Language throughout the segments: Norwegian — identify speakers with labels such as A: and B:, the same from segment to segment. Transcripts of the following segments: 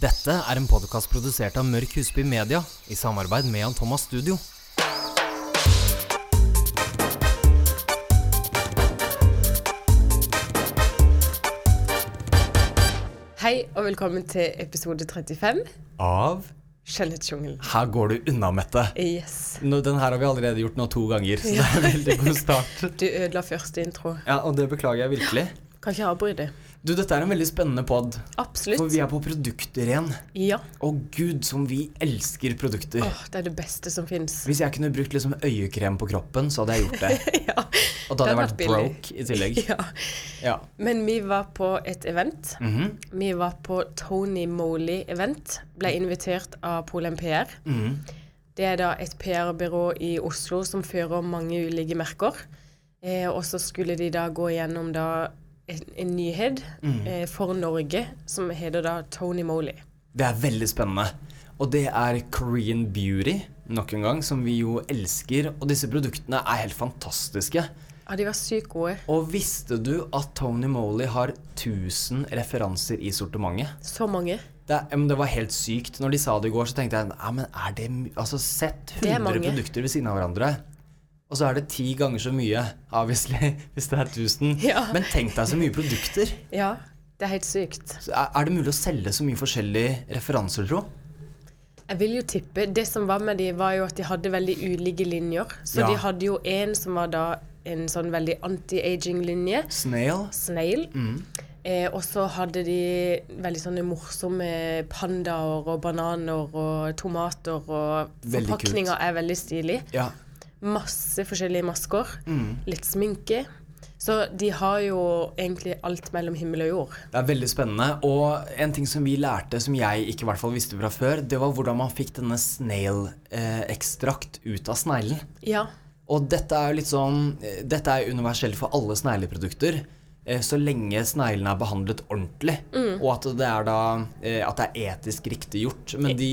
A: Dette er en podkast produsert av Mørk Husby Media i samarbeid med Jan Thomas Studio.
B: Hei og velkommen til episode 35,
A: Av
B: Skjønnhetsjungelen.
A: Her går du unna, Mette.
B: Yes.
A: Nå, den her har vi allerede gjort nå to ganger, så det er en veldig god start.
B: Du ødela første intro.
A: Ja, Og det beklager jeg virkelig.
B: Kan ikke avbryte.
A: Du, dette er en veldig spennende pod,
B: Absolutt.
A: for vi er på produkter igjen.
B: Ja.
A: Å gud, som vi elsker produkter.
B: Åh, det er det beste som fins.
A: Hvis jeg kunne brukt liksom øyekrem på kroppen, så hadde jeg gjort det.
B: ja.
A: Og da hadde jeg vært
B: Det hadde vært billig.
A: broke i tillegg.
B: ja.
A: Ja. Mhm.
B: Men vi var på et event. Vi var på Tony Moley-event. Ble invitert av Polem PR. Det er da et PR-byrå i Oslo som fører mange ulike merker. Eh, og så skulle de da gå gjennom da en, en nyhet eh, for Norge som heter da Tony Moley.
A: Det er veldig spennende. Og det er Korean Beauty, nok en gang, som vi jo elsker. Og disse produktene er helt fantastiske.
B: Ja, de var sykt gode.
A: Og visste du at Tony Moley har 1000 referanser i sortimentet?
B: Så mange.
A: Det, er- men det var helt sykt. Når de sa det i går, så tenkte jeg ja, men er det my Altså, sett
B: Det er
A: 100
B: mange.
A: produkter ved siden av hverandre. Og så er det ti ganger så mye, obviously, hvis det er 1000.
B: Ja.
A: Men tenk deg så mye produkter.
B: Ja, det er helt sykt.
A: Så er, er det mulig å selge så mye forskjellige referanser, tro?
B: Jeg vil jo tippe Det som var med de, var jo at de hadde veldig ulike linjer. Så
A: Ja.
B: de hadde jo en som var da en sånn veldig anti-aging-linje.
A: Snail.
B: Snail. Eh, og så hadde de veldig sånne morsomme pandaer og bananer og tomater og
A: Veldig kult.
B: Forpakninga er veldig stilig.
A: Ja.
B: Masse forskjellige masker. Litt sminke. Så de har jo egentlig alt mellom himmel og jord.
A: Det er veldig spennende. Og en ting som vi lærte, som jeg ikke i hvert fall visste fra før, det var hvordan man fikk denne snail-ekstrakt ut av sneglen.
B: Ja.
A: Og dette er jo litt sånn eh, Dette er universelt for alle snegleprodukter. eh, Så lenge sneglene er behandlet ordentlig, og at det er da eh, At det er etisk riktig gjort. Men de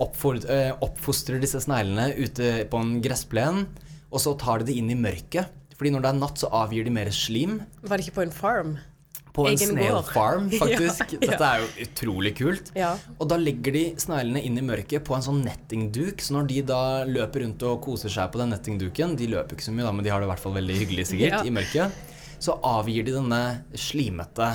A: oppfor- eh, oppfostrer disse sneglene ute på en gressplen, og så tar de det inn i mørket. Fordi når det er natt, så avgir de mer slim.
B: Var det ikke på en farm?
A: På en
B: Egen
A: snail
B: gård.
A: farm, faktisk.
B: Ja, ja.
A: Dette er jo utrolig kult.
B: Ja.
A: Og da legger de sneglene inn i mørket på en sånn nettingduk. Så når de da løper rundt og koser seg på den nettingduken De løper ikke så mye, da, men de har det i hvert fall veldig hyggelig sikkert
B: Ja.
A: i mørket. Så avgir de denne slimete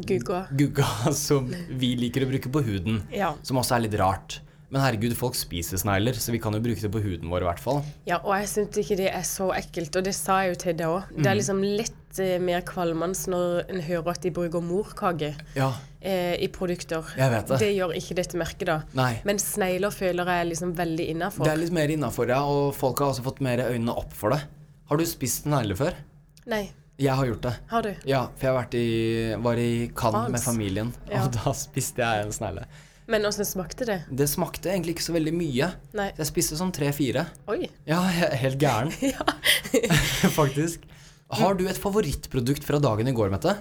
B: Gugga.
A: gugga som vi liker å bruke på huden.
B: Ja.
A: Som også er litt rart. Men herregud, folk spiser snegler, så vi kan jo bruke det på huden vår i hvert fall.
B: Ja, og jeg syns ikke det er så ekkelt, og det sa jeg jo til deg òg.
A: Mm.
B: Det er liksom litt eh, mer kvalmende når en hører at de bruker morkake
A: Ja.
B: eh, i produkter.
A: Jeg vet det.
B: Det gjør ikke dette merket, da.
A: Nei.
B: Men snegler føler jeg er liksom veldig
A: Det
B: innafor.
A: er litt mer innafor, ja, og folk har også fått mer øynene opp for det. Har du spist snegler før?
B: Nei,
A: Jeg har gjort det.
B: har du?
A: Ja, for jeg har vært i, var i Cannes
B: France.
A: med familien,
B: Ja.
A: og da spiste jeg en snegle.
B: Men åssen smakte det?
A: Det smakte egentlig ikke så veldig mye.
B: Nei.
A: Jeg spiste sånn tre-fire.
B: Oi.
A: Ja, jeg er helt gæren,
B: Ja.
A: faktisk. Har du et favorittprodukt fra dagen i går, Mette?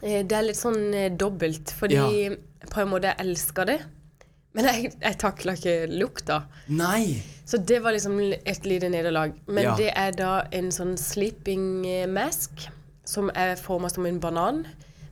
B: Eh, Det er litt sånn eh, dobbelt, fordi
A: Ja.
B: på en måte jeg elsker det. Men jeg, jeg takla ikke lukta.
A: Nei!
B: Så det var liksom et lite nederlag. Men
A: Ja.
B: det er da en sånn sleeping eh, mask som er forma som en banan.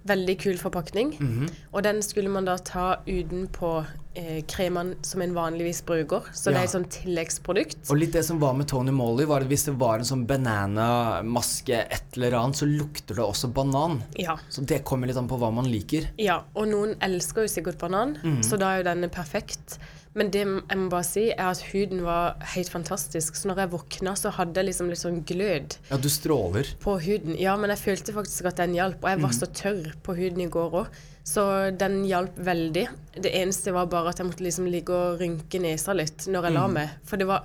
B: Veldig kul forpakning.
A: Mhm.
B: Og den skulle man da ta utenpå eh, kremen som en vanligvis bruker. Så det
A: Ja.
B: er et sånn tilleggsprodukt.
A: Og litt det som var med Tony Molly, var at hvis det var en sånn bananamaske, et eller annet, så lukter det også banan.
B: Ja.
A: Så det kommer litt an på hva man liker.
B: ja. Og noen elsker jo sikkert banan,
A: Mhm.
B: så da er jo denne perfekt. Men det jeg må bare si, er at huden var helt fantastisk. Så når jeg våkna, så hadde jeg liksom litt sånn glød.
A: Ja, du stråler.
B: på huden. Ja, men jeg følte faktisk at den hjalp, og jeg
A: Mhm.
B: var så tørr på huden i går òg. Så den hjalp veldig. Det eneste var bare at jeg måtte liksom ligge og rynke nesa litt når jeg
A: Mhm.
B: la meg. For det var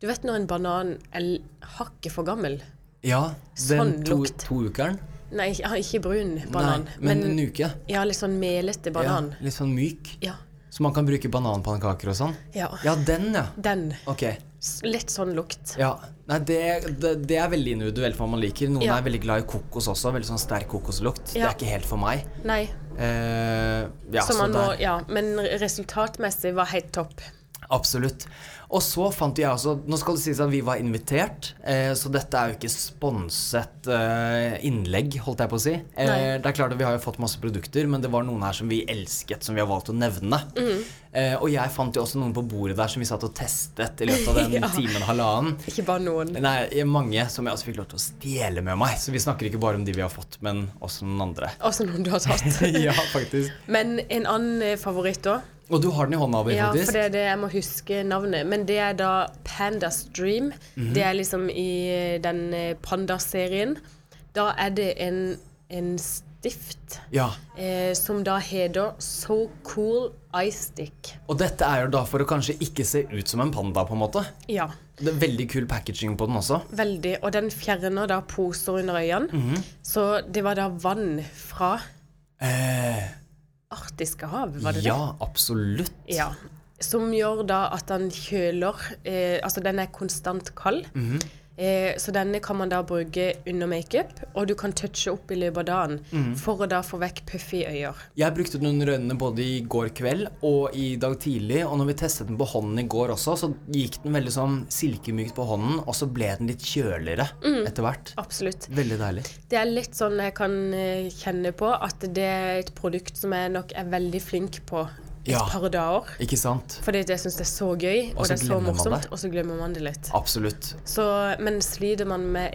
B: Du vet når en banan er l- hakket for gammel?
A: Ja, den
B: Sånn
A: to,
B: lukt.
A: to ukeren.
B: Nei, ikke- ja, ikke brun banan,
A: Nei, men, en uke.
B: ja, litt sånn melete banan.
A: Ja, litt sånn myk.
B: Ja.
A: Så man kan bruke bananpannekaker og sånn?
B: Ja.
A: Ja, den, ja.
B: Den.
A: Ok.
B: S- Litt sånn lukt.
A: Ja. Nei, det, det, det er veldig individuelt hva man liker. Noen
B: Ja.
A: er veldig glad i kokos også. Veldig sånn sterk kokoslukt. Det
B: Ja.
A: er ikke helt for meg.
B: Nei.
A: Eh, ja,
B: Så man
A: der.
B: må Ja. Men resultatmessig var helt topp.
A: Absolutt. Og så fant jeg også Nå skal det sies at vi var invitert, eh, så dette er jo ikke sponset eh, innlegg, holdt jeg på å si. Eh,
B: Nei.
A: det er klart at Vi har jo fått masse produkter, men det var noen her som vi elsket, som vi har valgt å nevne.
B: Mhm.
A: Eh, og jeg fant jo også noen på bordet der som vi satt og testet i løpet av den
B: Ja.
A: timen halvannen.
B: Ikke bare noen.
A: Nei, mange som jeg også fikk lov til å stjele med meg. Så vi snakker ikke bare om de vi har fått, men også noen andre.
B: Også noen du har tatt.
A: ja, faktisk.
B: Men en annen eh, favoritt òg.
A: Og du har den i hånda di,
B: Ja, for
A: faktisk.
B: det er det jeg må huske navnet. Men det er da Pandas Dream.
A: Mhm.
B: Det er liksom i den eh, Pandas-serien. Da er det en, en stift
A: Ja.
B: eh, som da heter So Cool Eye Stick.
A: Og dette er jo da for å kanskje ikke se ut som en panda, på en måte.
B: Ja,
A: Det er veldig kul packaging på den også.
B: veldig. Og den fjerner da poser under øynene.
A: Mhm.
B: Så det var da vann fra
A: Eh,
B: Arktiske hav, var det det?
A: ja, absolutt.
B: Ja. Som gjør da at den kjøler eh, Altså, den er konstant kald.
A: Mhm.
B: eh, så denne kan man da bruke under makeup, og du kan touche opp i løpet av dagen
A: Mhm.
B: for å da få vekk puffy øyer.
A: Jeg brukte den under øynene både i går kveld og i dag tidlig. Og når vi testet den på hånden i går også, så gikk den veldig sånn silkemykt på hånden. Og så ble den litt kjøligere
B: Mm.
A: etter hvert.
B: Absolutt.
A: Veldig deilig.
B: Det er litt sånn jeg kan eh, kjenne på at det er et produkt som jeg nok er veldig flink på et
A: Ja.
B: par dager.
A: Ikke sant?
B: Fordi det- jeg syns det er så gøy, og,
A: Og så
B: det er så
A: glemmer man
B: morsomt,
A: det.
B: og så glemmer man det litt.
A: Absolutt.
B: Så, men sliter man med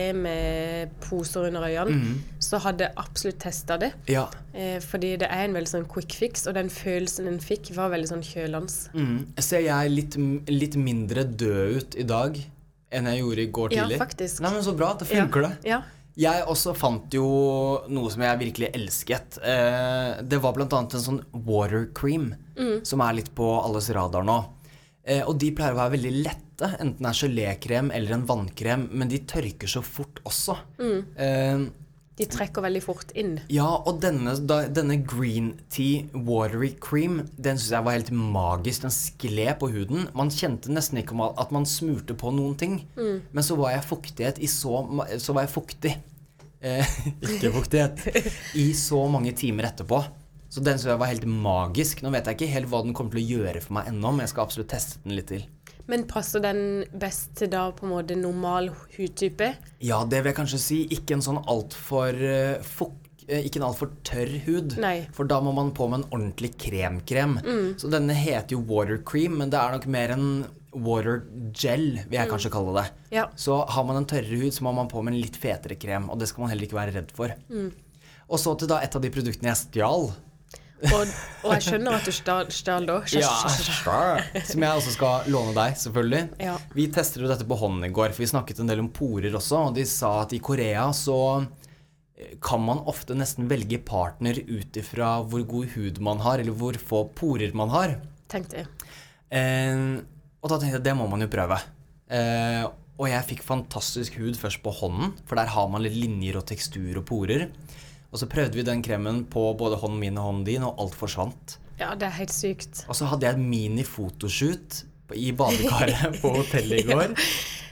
B: ekstreme poser under øynene,
A: Mhm.
B: så hadde jeg absolutt testa det.
A: Ja.
B: Eh, fordi det er en veldig sånn quick fix, og den følelsen den fikk, var veldig sånn kjølende.
A: Mm. Ser jeg litt, m- litt mindre død ut i dag enn jeg gjorde i går
B: Ja,
A: tidlig?
B: faktisk.
A: Nei, men Så bra. Det funker, det.
B: Ja.
A: Jeg også fant jo noe som jeg virkelig elsket. Eh, det var bl.a. en sånn water cream som er litt på alles radar nå. Eh, og de pleier å være veldig lette, enten det er gelékrem eller en vannkrem, men de tørker så fort også. Eh,
B: De trekker veldig fort inn.
A: ja, og denne, da, denne green tea watery cream, den syns jeg var helt magisk. Den skled på huden. Man kjente nesten ikke om at- at man smurte på noen ting. Men så var jeg fuktighet i så ma- Så var jeg fuktig. Eh, ikke fuktighet. I så mange timer etterpå. Så den syns jeg var helt magisk. Nå vet jeg ikke helt hva den kommer til å gjøre for meg ennå, men jeg skal absolutt teste den litt til.
B: Men passer den best til da på en måte normal hudtype?
A: Ja, det vil jeg kanskje si. Ikke en sånn altfor uh, fuk... eh, Ikke en altfor tørr hud,
B: Nei. Mm.
A: for da må man på med en ordentlig kremkrem. Så denne heter jo water cream, men det er nok mer en water gel, vil jeg kanskje kalle det.
B: Mm. Ja.
A: Så har man en tørrere hud, så må man på med en litt fetere krem, og det skal man heller ikke være redd for.
B: Mm.
A: Og så til da et av de produktene jeg stjal.
B: Og, og jeg skjønner at du stjal stjal da. Skjø- skjø- skjø-
A: Som jeg også skal låne deg, selvfølgelig.
B: Ja.
A: Vi testet jo dette på hånden i går, for vi snakket en del om porer også, og de sa at i Korea så eh, kan man ofte nesten velge partner ut ifra hvor god hud man har, eller hvor få porer man har.
B: Tenkte jeg.
A: Eh, og da tenkte jeg det må man jo prøve. Eh, og jeg fikk fantastisk hud først på hånden, for der har man litt linjer og tekstur og porer. Og så prøvde vi den kremen på både hånden min og hånden din, og alt forsvant.
B: Ja, det er helt sykt.
A: Og så hadde jeg et mini-fotoshoot på- i badekaret på hotellet i går.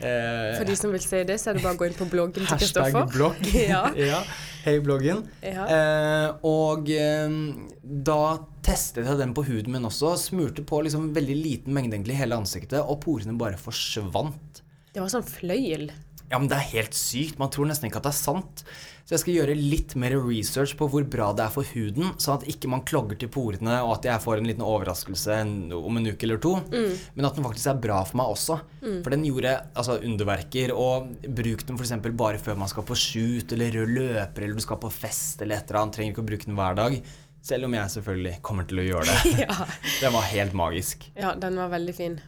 A: Eh,
B: For de som vil se det, så er det bare å gå inn på bloggen til
A: hashtag
B: Kristoffer.
A: blogg.
B: Ja.
A: Hei, bloggen.
B: Ja.
A: Eh, og eh, da testet jeg den på huden min også. Smurte på liksom veldig liten mengde egentlig i hele ansiktet, og porene bare forsvant.
B: Det var sånn fløyel.
A: Ja, men det er helt sykt. Man tror nesten ikke at det er sant. Så jeg skal gjøre litt mer research på hvor bra det er for huden, sånn at ikke man klogger til porene, og at jeg får en liten overraskelse en- om en uke eller to. Men at den faktisk er bra for meg også. For den gjorde altså, underverker. Og bruk den f.eks. bare før man skal på shoot eller rød løper, eller du skal på fest eller et eller annet. Trenger ikke å bruke den hver dag. Selv om jeg selvfølgelig kommer til å gjøre det.
B: Ja.
A: Den var helt magisk.
B: Ja, den var veldig fin.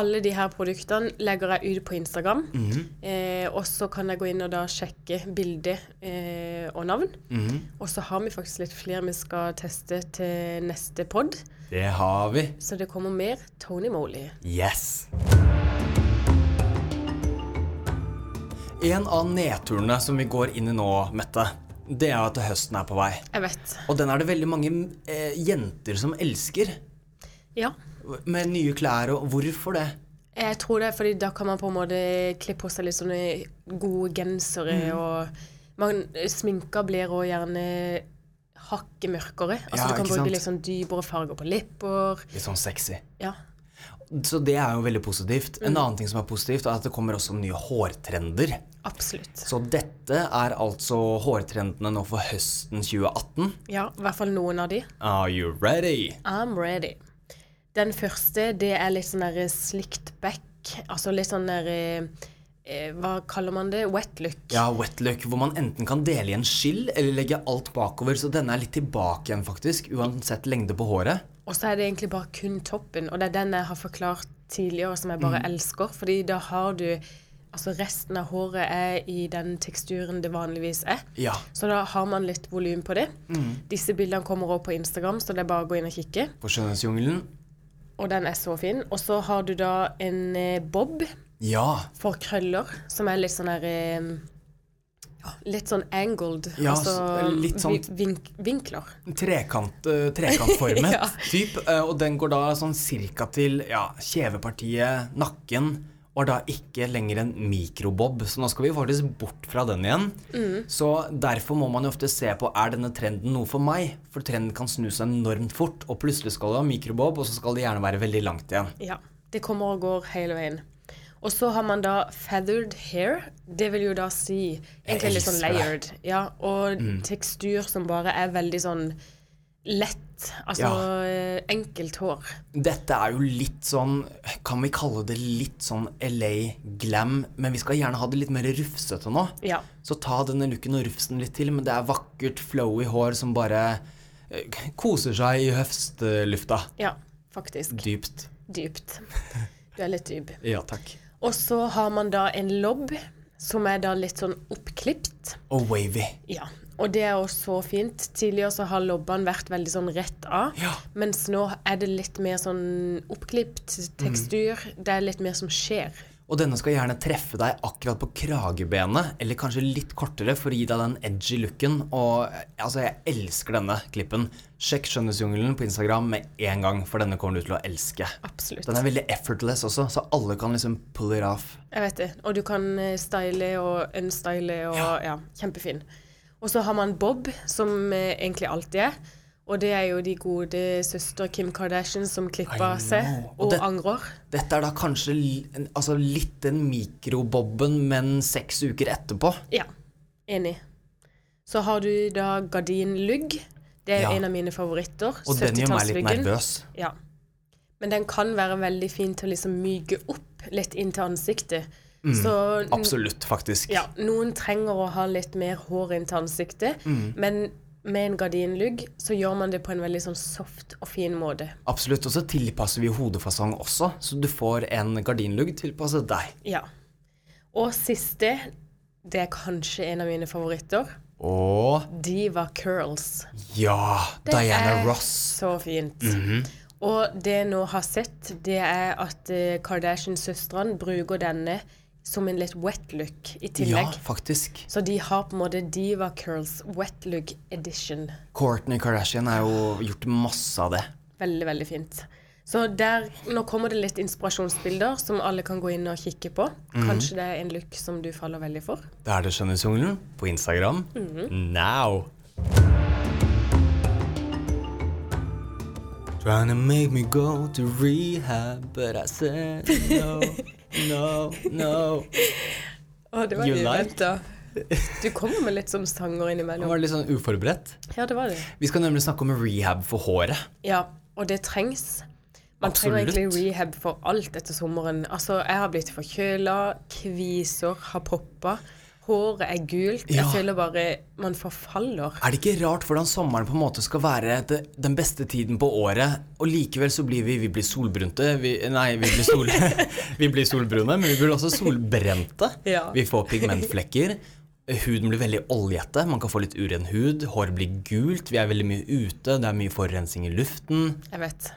B: Alle de her produktene legger jeg ut på Instagram.
A: Mhm.
B: eh, og så kan jeg gå inn og da sjekke bilde eh, og navn.
A: Mhm.
B: Og så har vi faktisk litt flere vi skal teste til neste pod.
A: Det har vi.
B: Så det kommer mer Tony Moley.
A: Yes! En av nedturene som vi går inn i nå, Mette, det er at høsten er på vei.
B: Jeg vet.
A: Og den er det veldig mange eh, jenter som elsker.
B: Ja.
A: Med nye klær og Hvorfor det?
B: Jeg tror det er fordi da kan man på en måte kle på seg litt sånne gode gensere
A: Mhm.
B: og man, Sminka blir også gjerne hakket mørkere. Altså
A: Ja,
B: du kan
A: ikke
B: bruke
A: sant?
B: litt sånn dypere farger på lepper.
A: Litt sånn sexy.
B: Ja.
A: Så det er jo veldig positivt. En annen ting som er positivt, er at det kommer også nye hårtrender.
B: Absolutt.
A: Så dette er altså hårtrendene nå for høsten 2018.
B: Ja, i hvert fall noen av de.
A: Are you ready?
B: I'm ready. Den første, det er litt sånn der slicked back. Altså litt sånn der eh, Hva kaller man det? Wet look.
A: Ja, wet look, hvor man enten kan dele i en skyll eller legge alt bakover. Så denne er litt tilbake igjen, faktisk. Uansett lengde på håret.
B: Og så er det egentlig bare kun toppen, og det er den jeg har forklart tidligere som jeg bare
A: Mm.
B: elsker, fordi da har du Altså resten av håret er i den teksturen det vanligvis er.
A: Ja. Mm.
B: Så da har man litt volum på det. Disse bildene kommer også på Instagram, så det er bare å gå inn og kikke.
A: På Skjønnhetsjungelen.
B: Og den er så fin. Og så har du da en eh, bob
A: Ja.
B: for krøller, som er litt sånn her eh, ja, Litt sånn angled.
A: Ja,
B: altså
A: s- litt sånn-
B: vi- vink vinkler.
A: Trekant, eh, trekantformet
B: Ja.
A: typ, eh, og den går da sånn cirka til ja, kjevepartiet, nakken, og er da ikke lenger en mikrobob. Så nå skal vi faktisk bort fra den igjen. Så derfor må man jo ofte se på er denne trenden noe for meg, for trenden kan snu seg enormt fort, og plutselig skal det ha mikrobob, og så skal det gjerne være veldig langt igjen.
B: Ja. Det kommer og går hele veien. Og så har man da feathered hair. Det vil jo da si egentlig litt
A: elsker
B: sånn
A: det. Mm.
B: layered. Ja, og tekstur som bare er veldig sånn lett. Altså
A: Ja.
B: eh, enkelt hår.
A: Dette er jo litt sånn, kan vi kalle det litt sånn LA glam, men vi skal gjerne ha det litt mer rufsete nå.
B: Ja.
A: Så ta denne looken og rufsen litt til, men det er vakkert, flowy hår som bare eh, koser seg i høstlufta.
B: Ja, faktisk.
A: Dypt.
B: Dypt. Du er litt dyp.
A: Ja, takk.
B: Og så har man da en lobb, som er da litt sånn oppklipt.
A: Og wavy.
B: Ja, og det er jo så fint. Tidligere så har lobbene vært veldig sånn rett av,
A: Ja.
B: mens nå er det litt mer sånn oppklipt tekstur.
A: Mm.
B: Det er litt mer som skjer.
A: Og denne skal gjerne treffe deg akkurat på kragebenet, eller kanskje litt kortere for å gi deg den edgy looken. Og eh, altså, jeg elsker denne klippen. Sjekk Skjønnhetsjungelen på Instagram med en gang, for denne kommer du til å elske.
B: Absolutt.
A: Den er veldig effortless også, så alle kan liksom pull it off.
B: Jeg vet det. Og du kan eh, style og unstyle og ja. kjempefin. Og så har man Bob, som eh, egentlig alltid er. Og det er jo de gode søster Kim Kardashian som klipper seg
A: know. Og
B: og
A: det-
B: angrer.
A: Dette er da kanskje li- en- altså litt den mikrobobben, men seks uker etterpå.
B: Ja, enig. Så har du da gardinlugg. Det er
A: Ja.
B: en av mine favoritter.
A: Og den gjør meg litt
B: 70-tallsluggen.
A: nervøs.
B: Ja. Men den kan være veldig fin til å liksom myke opp litt inn til ansiktet. Så n-
A: Mm. Absolutt, faktisk.
B: Mm. ja, noen trenger å ha litt mer hår inn til ansiktet,
A: Mm.
B: men med en gardinlugg så gjør man det på en veldig sånn soft og fin måte.
A: Absolutt, Og så tilpasser vi hodefasong også, så du får en gardinlugg tilpasset deg.
B: Ja. Og siste, det er kanskje en av mine favoritter,
A: Og
B: Diva Curls.
A: ja, Diana
B: er
A: Ross.
B: Så fint.
A: Mhm.
B: Og det jeg nå har sett, det er at eh, Kardashian-søstrene bruker denne som en litt wet look i
A: Ja,
B: tillegg.
A: faktisk.
B: Så de har på en måte Diva Curls wet look edition.
A: Kourtney Kardashian har jo gjort masse av det.
B: Veldig, veldig fint. Så der, nå kommer det litt inspirasjonsbilder som alle kan gå inn og kikke på.
A: Mhm.
B: Kanskje det er en look som du faller veldig for.
A: Da er det Skjønnhetsjungelen på Instagram. Now! Trying to make me go to rehab, but I said no, no, no.
B: Å, det var
A: You
B: litt
A: lied.
B: da. Du kommer med litt sånn sanger
A: Det
B: innimellom.
A: var litt sånn uforberedt.
B: Ja, det var det.
A: Vi skal nemlig snakke om rehab for håret.
B: Ja, og det trengs. Man
A: Absolutt.
B: trenger egentlig rehab for alt etter sommeren. Altså, jeg har blitt forkjøla, kviser har poppa, håret er gult.
A: Ja.
B: Jeg føler bare man forfaller.
A: Er det ikke rart hvordan sommeren på en måte skal være det- den beste tiden på året, og likevel så blir vi, vi blir solbrunte vi, Nei, vi blir, sol, vi blir solbrune, men vi blir også solbrente.
B: Ja.
A: Vi får pigmentflekker. Huden blir veldig oljete, man kan få litt uren hud. Håret blir gult, vi er veldig mye ute, det er mye forurensning i luften.
B: Jeg vet.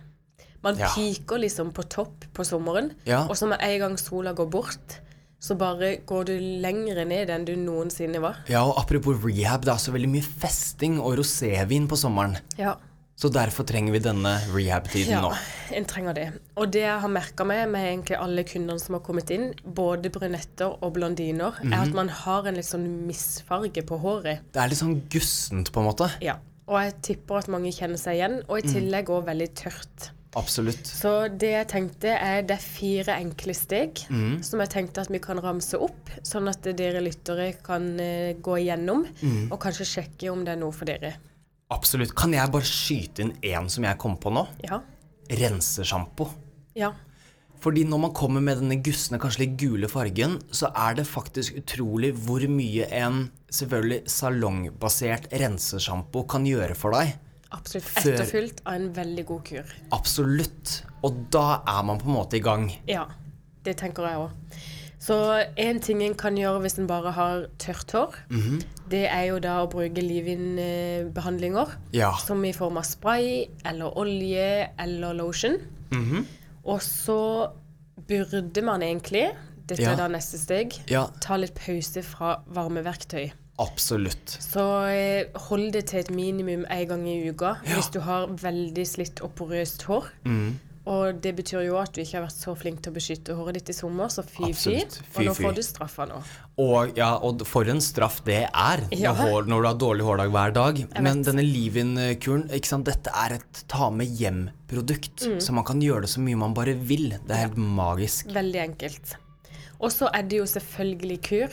B: Man
A: Ja.
B: piker liksom på topp på sommeren,
A: Ja.
B: og så med en gang sola går bort, så bare går du lengre ned enn du noensinne var.
A: Ja, og apropos rehab, det er også veldig mye festing og rosévin på sommeren.
B: Ja.
A: Så derfor trenger vi denne rehab-tiden nå.
B: Ja, en trenger det. Og det jeg har merka meg med egentlig alle kundene som har kommet inn, både brunetter og blondiner, er at man har en litt sånn misfarge på håret.
A: Det er litt sånn gussent, på en måte.
B: Ja. Og jeg tipper at mange kjenner seg igjen, og i tillegg òg veldig tørt.
A: Absolutt.
B: Så det jeg tenkte er det er fire enkle steg som jeg tenkte at vi kan ramse opp, sånn at dere lyttere kan eh, gå igjennom og kanskje sjekke om det er noe for dere.
A: Absolutt. Kan jeg bare skyte inn én som jeg kom på nå?
B: Ja.
A: Rensesjampo.
B: Ja.
A: Fordi når man kommer med denne gusne, kanskje litt gule fargen, så er det faktisk utrolig hvor mye en selvfølgelig salongbasert rensesjampo kan gjøre for deg.
B: Absolutt.
A: Før-
B: Etterfulgt av en veldig god kur.
A: Absolutt. Og da er man på en måte i gang.
B: Ja, det tenker jeg òg. Så én ting en kan gjøre hvis en bare har tørt hår,
A: Mhm.
B: det er jo da å bruke leave-in-behandlinger.
A: Ja.
B: Som i form av spray eller olje eller lotion.
A: Mhm.
B: Og så burde man egentlig, dette
A: Ja.
B: er da neste steg,
A: Ja.
B: ta litt pause fra varmeverktøy.
A: Absolutt.
B: Så eh, hold det til et minimum én gang i uka hvis du har veldig slitt og porøst hår.
A: Mm.
B: Og det betyr jo at du ikke har vært så flink til å beskytte håret ditt i sommer, så fy-fy.
A: Absolutt. Fy,
B: Og nå
A: fy.
B: får du straffa nå.
A: Og, ja, og for en straff det er
B: Ja.
A: når, hår, når du har dårlig hårdag hver dag. Men denne Livin-kuren, ikke sant, dette er et ta med hjem-produkt. Så man kan gjøre det så mye man bare vil. Det er helt magisk.
B: Veldig enkelt. Og så er det jo selvfølgelig kur.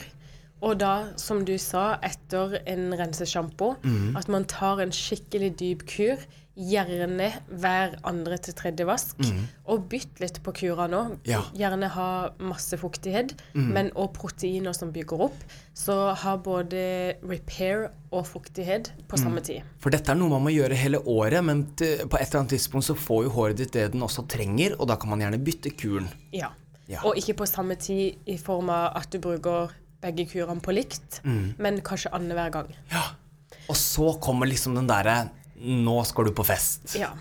B: Og da, som du sa, etter en rensesjampo,
A: Mhm.
B: at man tar en skikkelig dyp kur, gjerne hver andre til tredje vask, og bytt litt på kura nå.
A: Mhm. Ja. Mhm.
B: Gjerne ha masse fuktighet, men også proteiner som bygger opp. Så ha både repair og fuktighet på
A: Mhm.
B: samme tid.
A: For dette er noe man må gjøre hele året, men til, på et eller annet tidspunkt så får jo håret ditt det den også trenger, og da kan man gjerne bytte kuren.
B: Ja.
A: Ja.
B: Og ikke på samme tid i form av at du bruker begge kurene på likt,
A: Mhm.
B: men kanskje annenhver gang.
A: Ja. Og så kommer liksom den derre Nå skal du på fest.
B: Ja.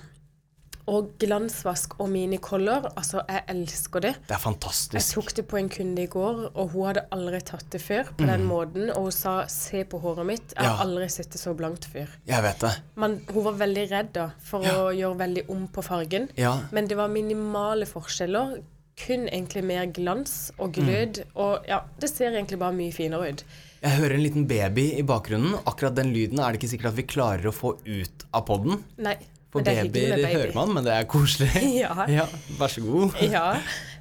B: Og glansvask og minicolor, altså jeg elsker det.
A: Det er
B: Jeg
A: fantastisk.
B: tok det på en kunde i går, og hun hadde aldri tatt det før på den måten. Og hun sa 'se på håret mitt', jeg har
A: Mm. Ja.
B: aldri sett det så blankt før.
A: Jeg vet det.
B: Men hun var veldig redd da, for å gjøre veldig om på fargen.
A: Ja.
B: Men det var minimale forskjeller. Kun egentlig mer glans
A: Mm.
B: og glød. Og ja, det ser egentlig bare mye finere ut.
A: Jeg hører en liten baby i bakgrunnen. Akkurat den lyden er det ikke sikkert at vi klarer å få ut av poden.
B: Nei,
A: For
B: men det er hyggelig
A: babyer
B: med baby.
A: hører man, men det er koselig.
B: Ja.
A: Vær så god.
B: ja.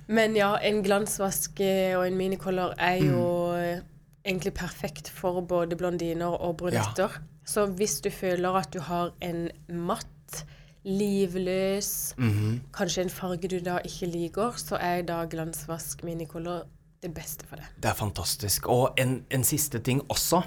B: Men ja, en glansvask eh, og en minicolor er jo eh, egentlig perfekt for både blondiner og brunetter. Så hvis du føler at du har en matt, livløs, kanskje en farge du da ikke liker, så er da glansvask, minicolor det beste for det.
A: Det er fantastisk. Og en, en siste ting også.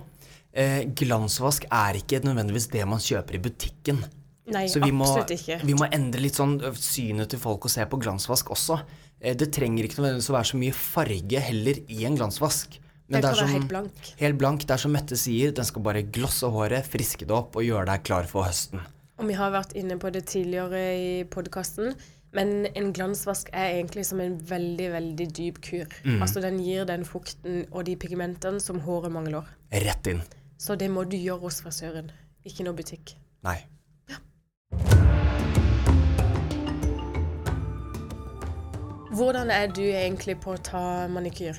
A: Eh, glansvask er ikke nødvendigvis det man kjøper i butikken.
B: Nei,
A: Så vi må,
B: absolutt ikke.
A: vi må endre litt sånn ø, synet til folk og se på glansvask også. Eh, det trenger ikke nødvendigvis å være så mye farge heller i en glansvask. Men
B: Den kan være
A: som-
B: helt blank.
A: Helt blank. Det er som Mette sier, den skal bare glosse håret, friske det opp og gjøre deg klar for høsten.
B: Og vi har vært inne på det tidligere i podkasten, men en glansvask er egentlig som en veldig, veldig dyp kur. Altså den gir den fukten og de pigmentene som håret mangler.
A: Rett inn.
B: Så det må du gjøre hos frisøren, ikke noe butikk.
A: Nei.
B: Hvordan er du egentlig på å ta manikyr?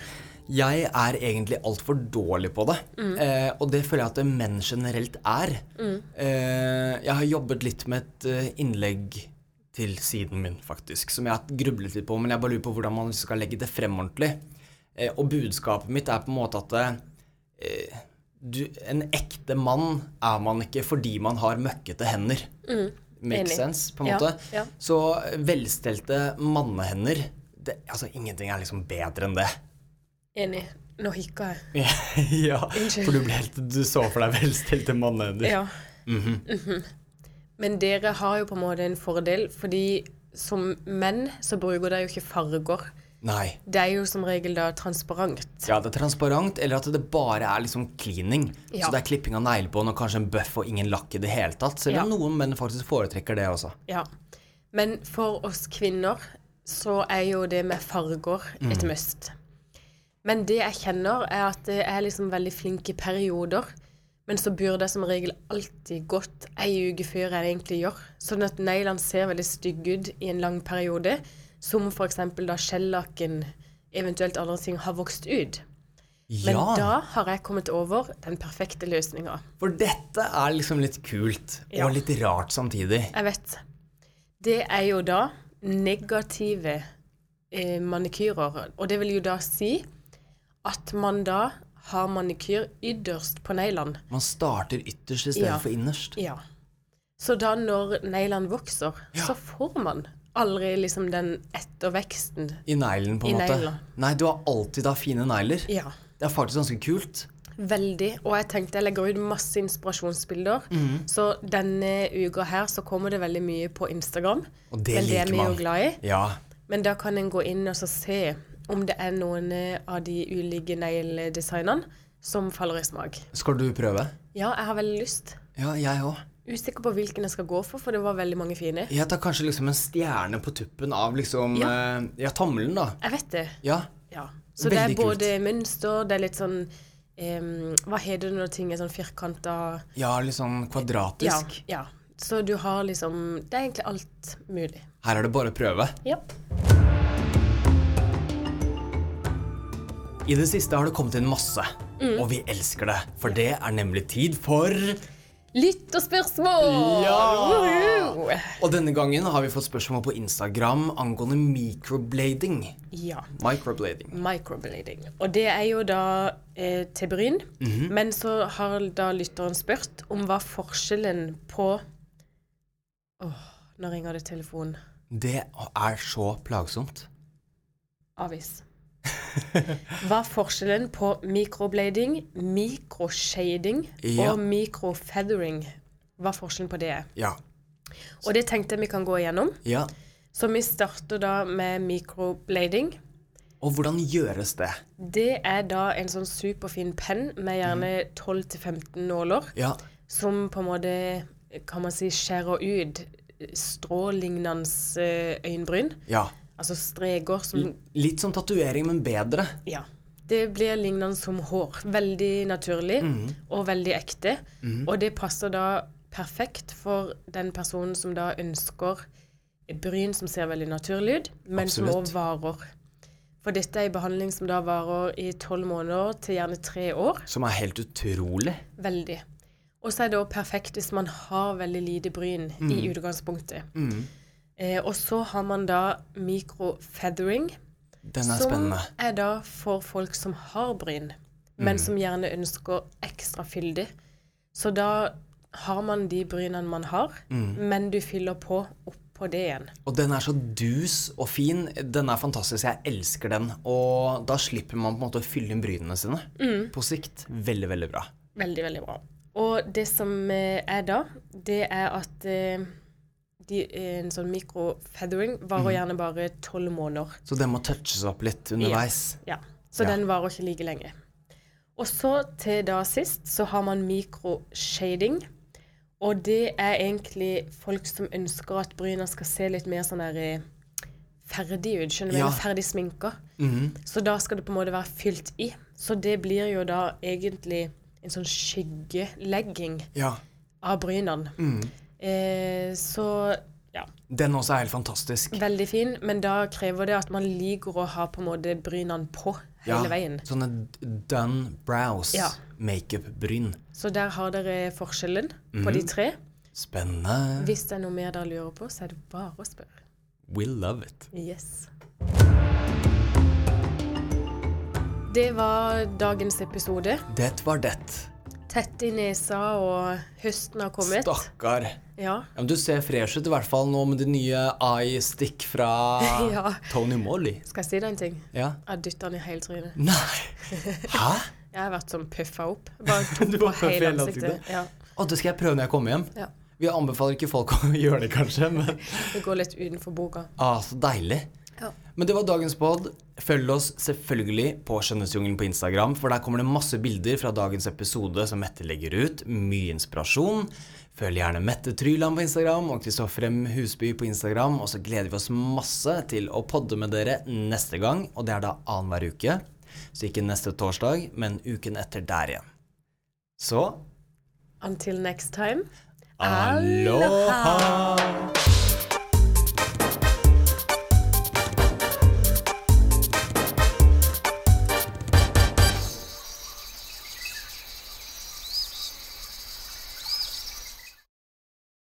A: Jeg er egentlig altfor dårlig på det.
B: Mm.
A: Eh, og det føler jeg at menn generelt er. Eh, jeg har jobbet litt med et eh, innlegg til siden min, faktisk, som jeg har grublet litt på, men jeg bare lurer på hvordan man liksom skal legge det frem ordentlig. Eh, og budskapet mitt er på en måte at eh, du, en ekte mann er man ikke fordi man har møkkete hender. Makes
B: Mm. Enig.
A: sense, på en
B: Ja,
A: måte.
B: ja.
A: Så eh, velstelte mannehender det, Altså, ingenting er liksom bedre enn det.
B: Enig. Nå hikka jeg.
A: ja,
B: Unnskyld.
A: for du, ble helt, du så for deg velstelte mannehender.
B: Ja. Mhm. Men dere har jo på en måte en fordel, fordi som menn så bruker dere jo ikke farger.
A: Nei.
B: Det er jo som regel da transparent.
A: Ja, det er transparent, eller at det bare er liksom cleaning.
B: Ja.
A: Så det er klipping av neglebånd og kanskje en bøff og ingen lakk i det hele tatt. Selv om
B: Ja.
A: noen menn faktisk foretrekker det også.
B: Ja. Men for oss kvinner så er jo det med farger et must. Men det jeg kjenner, er at jeg er liksom veldig flink i perioder. Men så burde jeg som regel alltid gått ei uke før jeg egentlig gjør. Sånn at neglene ser veldig stygge ut i en lang periode. Som f.eks. da skjellaken, eventuelt andre ting, har vokst ut. Men
A: ja,
B: da har jeg kommet over den perfekte løsninga.
A: for dette er liksom litt kult,
B: Ja.
A: og litt rart samtidig.
B: Jeg vet. Det er jo da negative eh, manikyrer. Og det vil jo da si at man da har manikyr ytterst på neglene.
A: Man starter ytterst i stedet
B: Ja.
A: for innerst.
B: Ja. Så da når neglene vokser, så får man aldri liksom den etterveksten.
A: I neglen, på
B: I
A: en måte.
B: negla.
A: Nei, du har alltid da fine negler.
B: Ja.
A: Det er faktisk ganske kult.
B: Veldig. Og jeg tenkte jeg legger ut masse inspirasjonsbilder.
A: Mm.
B: Så denne uka her så kommer det veldig mye på Instagram.
A: Og det
B: Men det er
A: liker
B: vi
A: man.
B: jo glad i.
A: Ja.
B: Men da kan en gå inn og så se om det er noen eh, av de ulike negledesignene som faller i smak.
A: Skal du prøve?
B: Ja, jeg har veldig lyst.
A: Ja, jeg òg.
B: Usikker på hvilken jeg skal gå for, for det var veldig mange fine.
A: Jeg tar kanskje liksom en stjerne på tuppen av liksom Ja, ja tommelen, da.
B: Jeg vet det.
A: Ja.
B: Ja. Så det er
A: Veldig kult.
B: både mønster, det er litt sånn em, Hva heter det når ting er sånn firkanta
A: ja, litt sånn
B: ja,
A: kvadratisk.
B: ja. Så du har liksom Det er egentlig alt mulig.
A: Her er det bare å prøve.
B: Ja.
A: I det siste har det kommet inn masse, og vi elsker det. For det er nemlig tid for
B: Lytterspørsmål!
A: Ja!
B: Woohoo!
A: Og denne gangen har vi fått spørsmål på Instagram angående microblading.
B: ja.
A: Microblading.
B: Microblading. Og det er jo da eh, til bryn. Men så har da lytteren spurt om hva forskjellen på Åh, nå ringer det telefon.
A: Det er så plagsomt.
B: Avis. Hva er forskjellen på microblading, microshading
A: Ja.
B: og microfeathering? Hva forskjellen på det er?
A: Ja.
B: Og det tenkte jeg vi kan gå igjennom.
A: ja.
B: Så vi starter da med microblading.
A: Og hvordan gjøres det?
B: Det er da en sånn superfin penn med gjerne 12-15 nåler.
A: Ja.
B: som på en måte kan man si skjærer ut strålignende eh, øyenbryn.
A: ja.
B: Altså streker som
A: Litt som tatovering, men bedre.
B: Ja. Det blir lignende som hår. Veldig naturlig og veldig ekte. Og det passer da perfekt for den personen som da ønsker bryn som ser veldig naturlig ut, men som
A: Absolutt.
B: også varer. For dette er en behandling som da varer i tolv måneder til gjerne tre år.
A: Som er helt utrolig.
B: Veldig. Og så er det også perfekt hvis man har veldig lite bryn i
A: Mm.
B: utgangspunktet. Eh, og så har man da microfeathering,
A: Den er
B: som
A: spennende. Mm.
B: er da for folk som har bryn, men som gjerne ønsker ekstra fyldig. Så da har man de brynene man har,
A: Mm.
B: men du fyller på oppå det igjen.
A: Og den er så dus og fin. Den er fantastisk. Jeg elsker den. Og da slipper man på en måte å fylle inn brynene sine.
B: Mm.
A: På sikt. Veldig, veldig bra.
B: Veldig, veldig bra. Og det som eh, er da, det er at eh, de, en sånn microfeathering
A: Mm.
B: varer gjerne bare tolv måneder.
A: Så den må touches opp litt underveis.
B: Ja, så
A: Ja.
B: den varer ikke like lenge. Og så til da sist så har man mikroshading. Og det er egentlig folk som ønsker at bryna skal se litt mer sånn der eh, ferdig ut. Skjønner du?
A: Ja. Mhm.
B: Eller Ferdig sminka. Så da skal det på en måte være fylt i. Så det blir jo da egentlig en sånn skyggelegging
A: Ja.
B: av brynene.
A: Mhm.
B: Eh, så ja.
A: Den også er helt fantastisk.
B: Veldig fin, men da krever det at man liker å ha på en måte brynene på hele veien.
A: Sånne done brows.
B: Ja.
A: Makeup-bryn.
B: Så der har dere forskjellen på de tre.
A: Spennende.
B: Hvis det er noe mer dere lurer på, så er det bare å spørre.
A: We love it.
B: Yes. Det var dagens episode.
A: Det var det.
B: Tett i nesa, og høsten har kommet.
A: Stakkar.
B: Ja.
A: Ja, men du ser fresh ut i hvert fall nå med de nye eye stick fra
B: Ja.
A: Tony Molly.
B: Skal jeg si deg en ting?
A: Ja.
B: Jeg dytta den i hele trynet.
A: Nei! Hæ?
B: Jeg har vært sånn puffa opp. Bare
A: Du
B: tok på
A: var puff i
B: hele
A: hele
B: ansiktet.
A: ansiktet?
B: Ja.
A: Å, det skal jeg prøve når jeg kommer hjem.
B: ja.
A: Vi anbefaler ikke folk å gjøre det, kanskje, men
B: Det går litt utenfor boka.
A: ah, så deilig.
B: Ja.
A: Men det var dagens pod. Følg oss selvfølgelig på Skjønnhetsjungelen på Instagram, for der kommer det masse bilder fra dagens episode som Mette legger ut. Mye inspirasjon. Følg gjerne Mette Tryland på Instagram og Kristoffer M. Husby på Instagram. Og så gleder vi oss masse til å podde med dere neste gang, og det er da annenhver uke. Så ikke neste torsdag, men uken etter der igjen. Så
B: Until next time.
A: Aloha!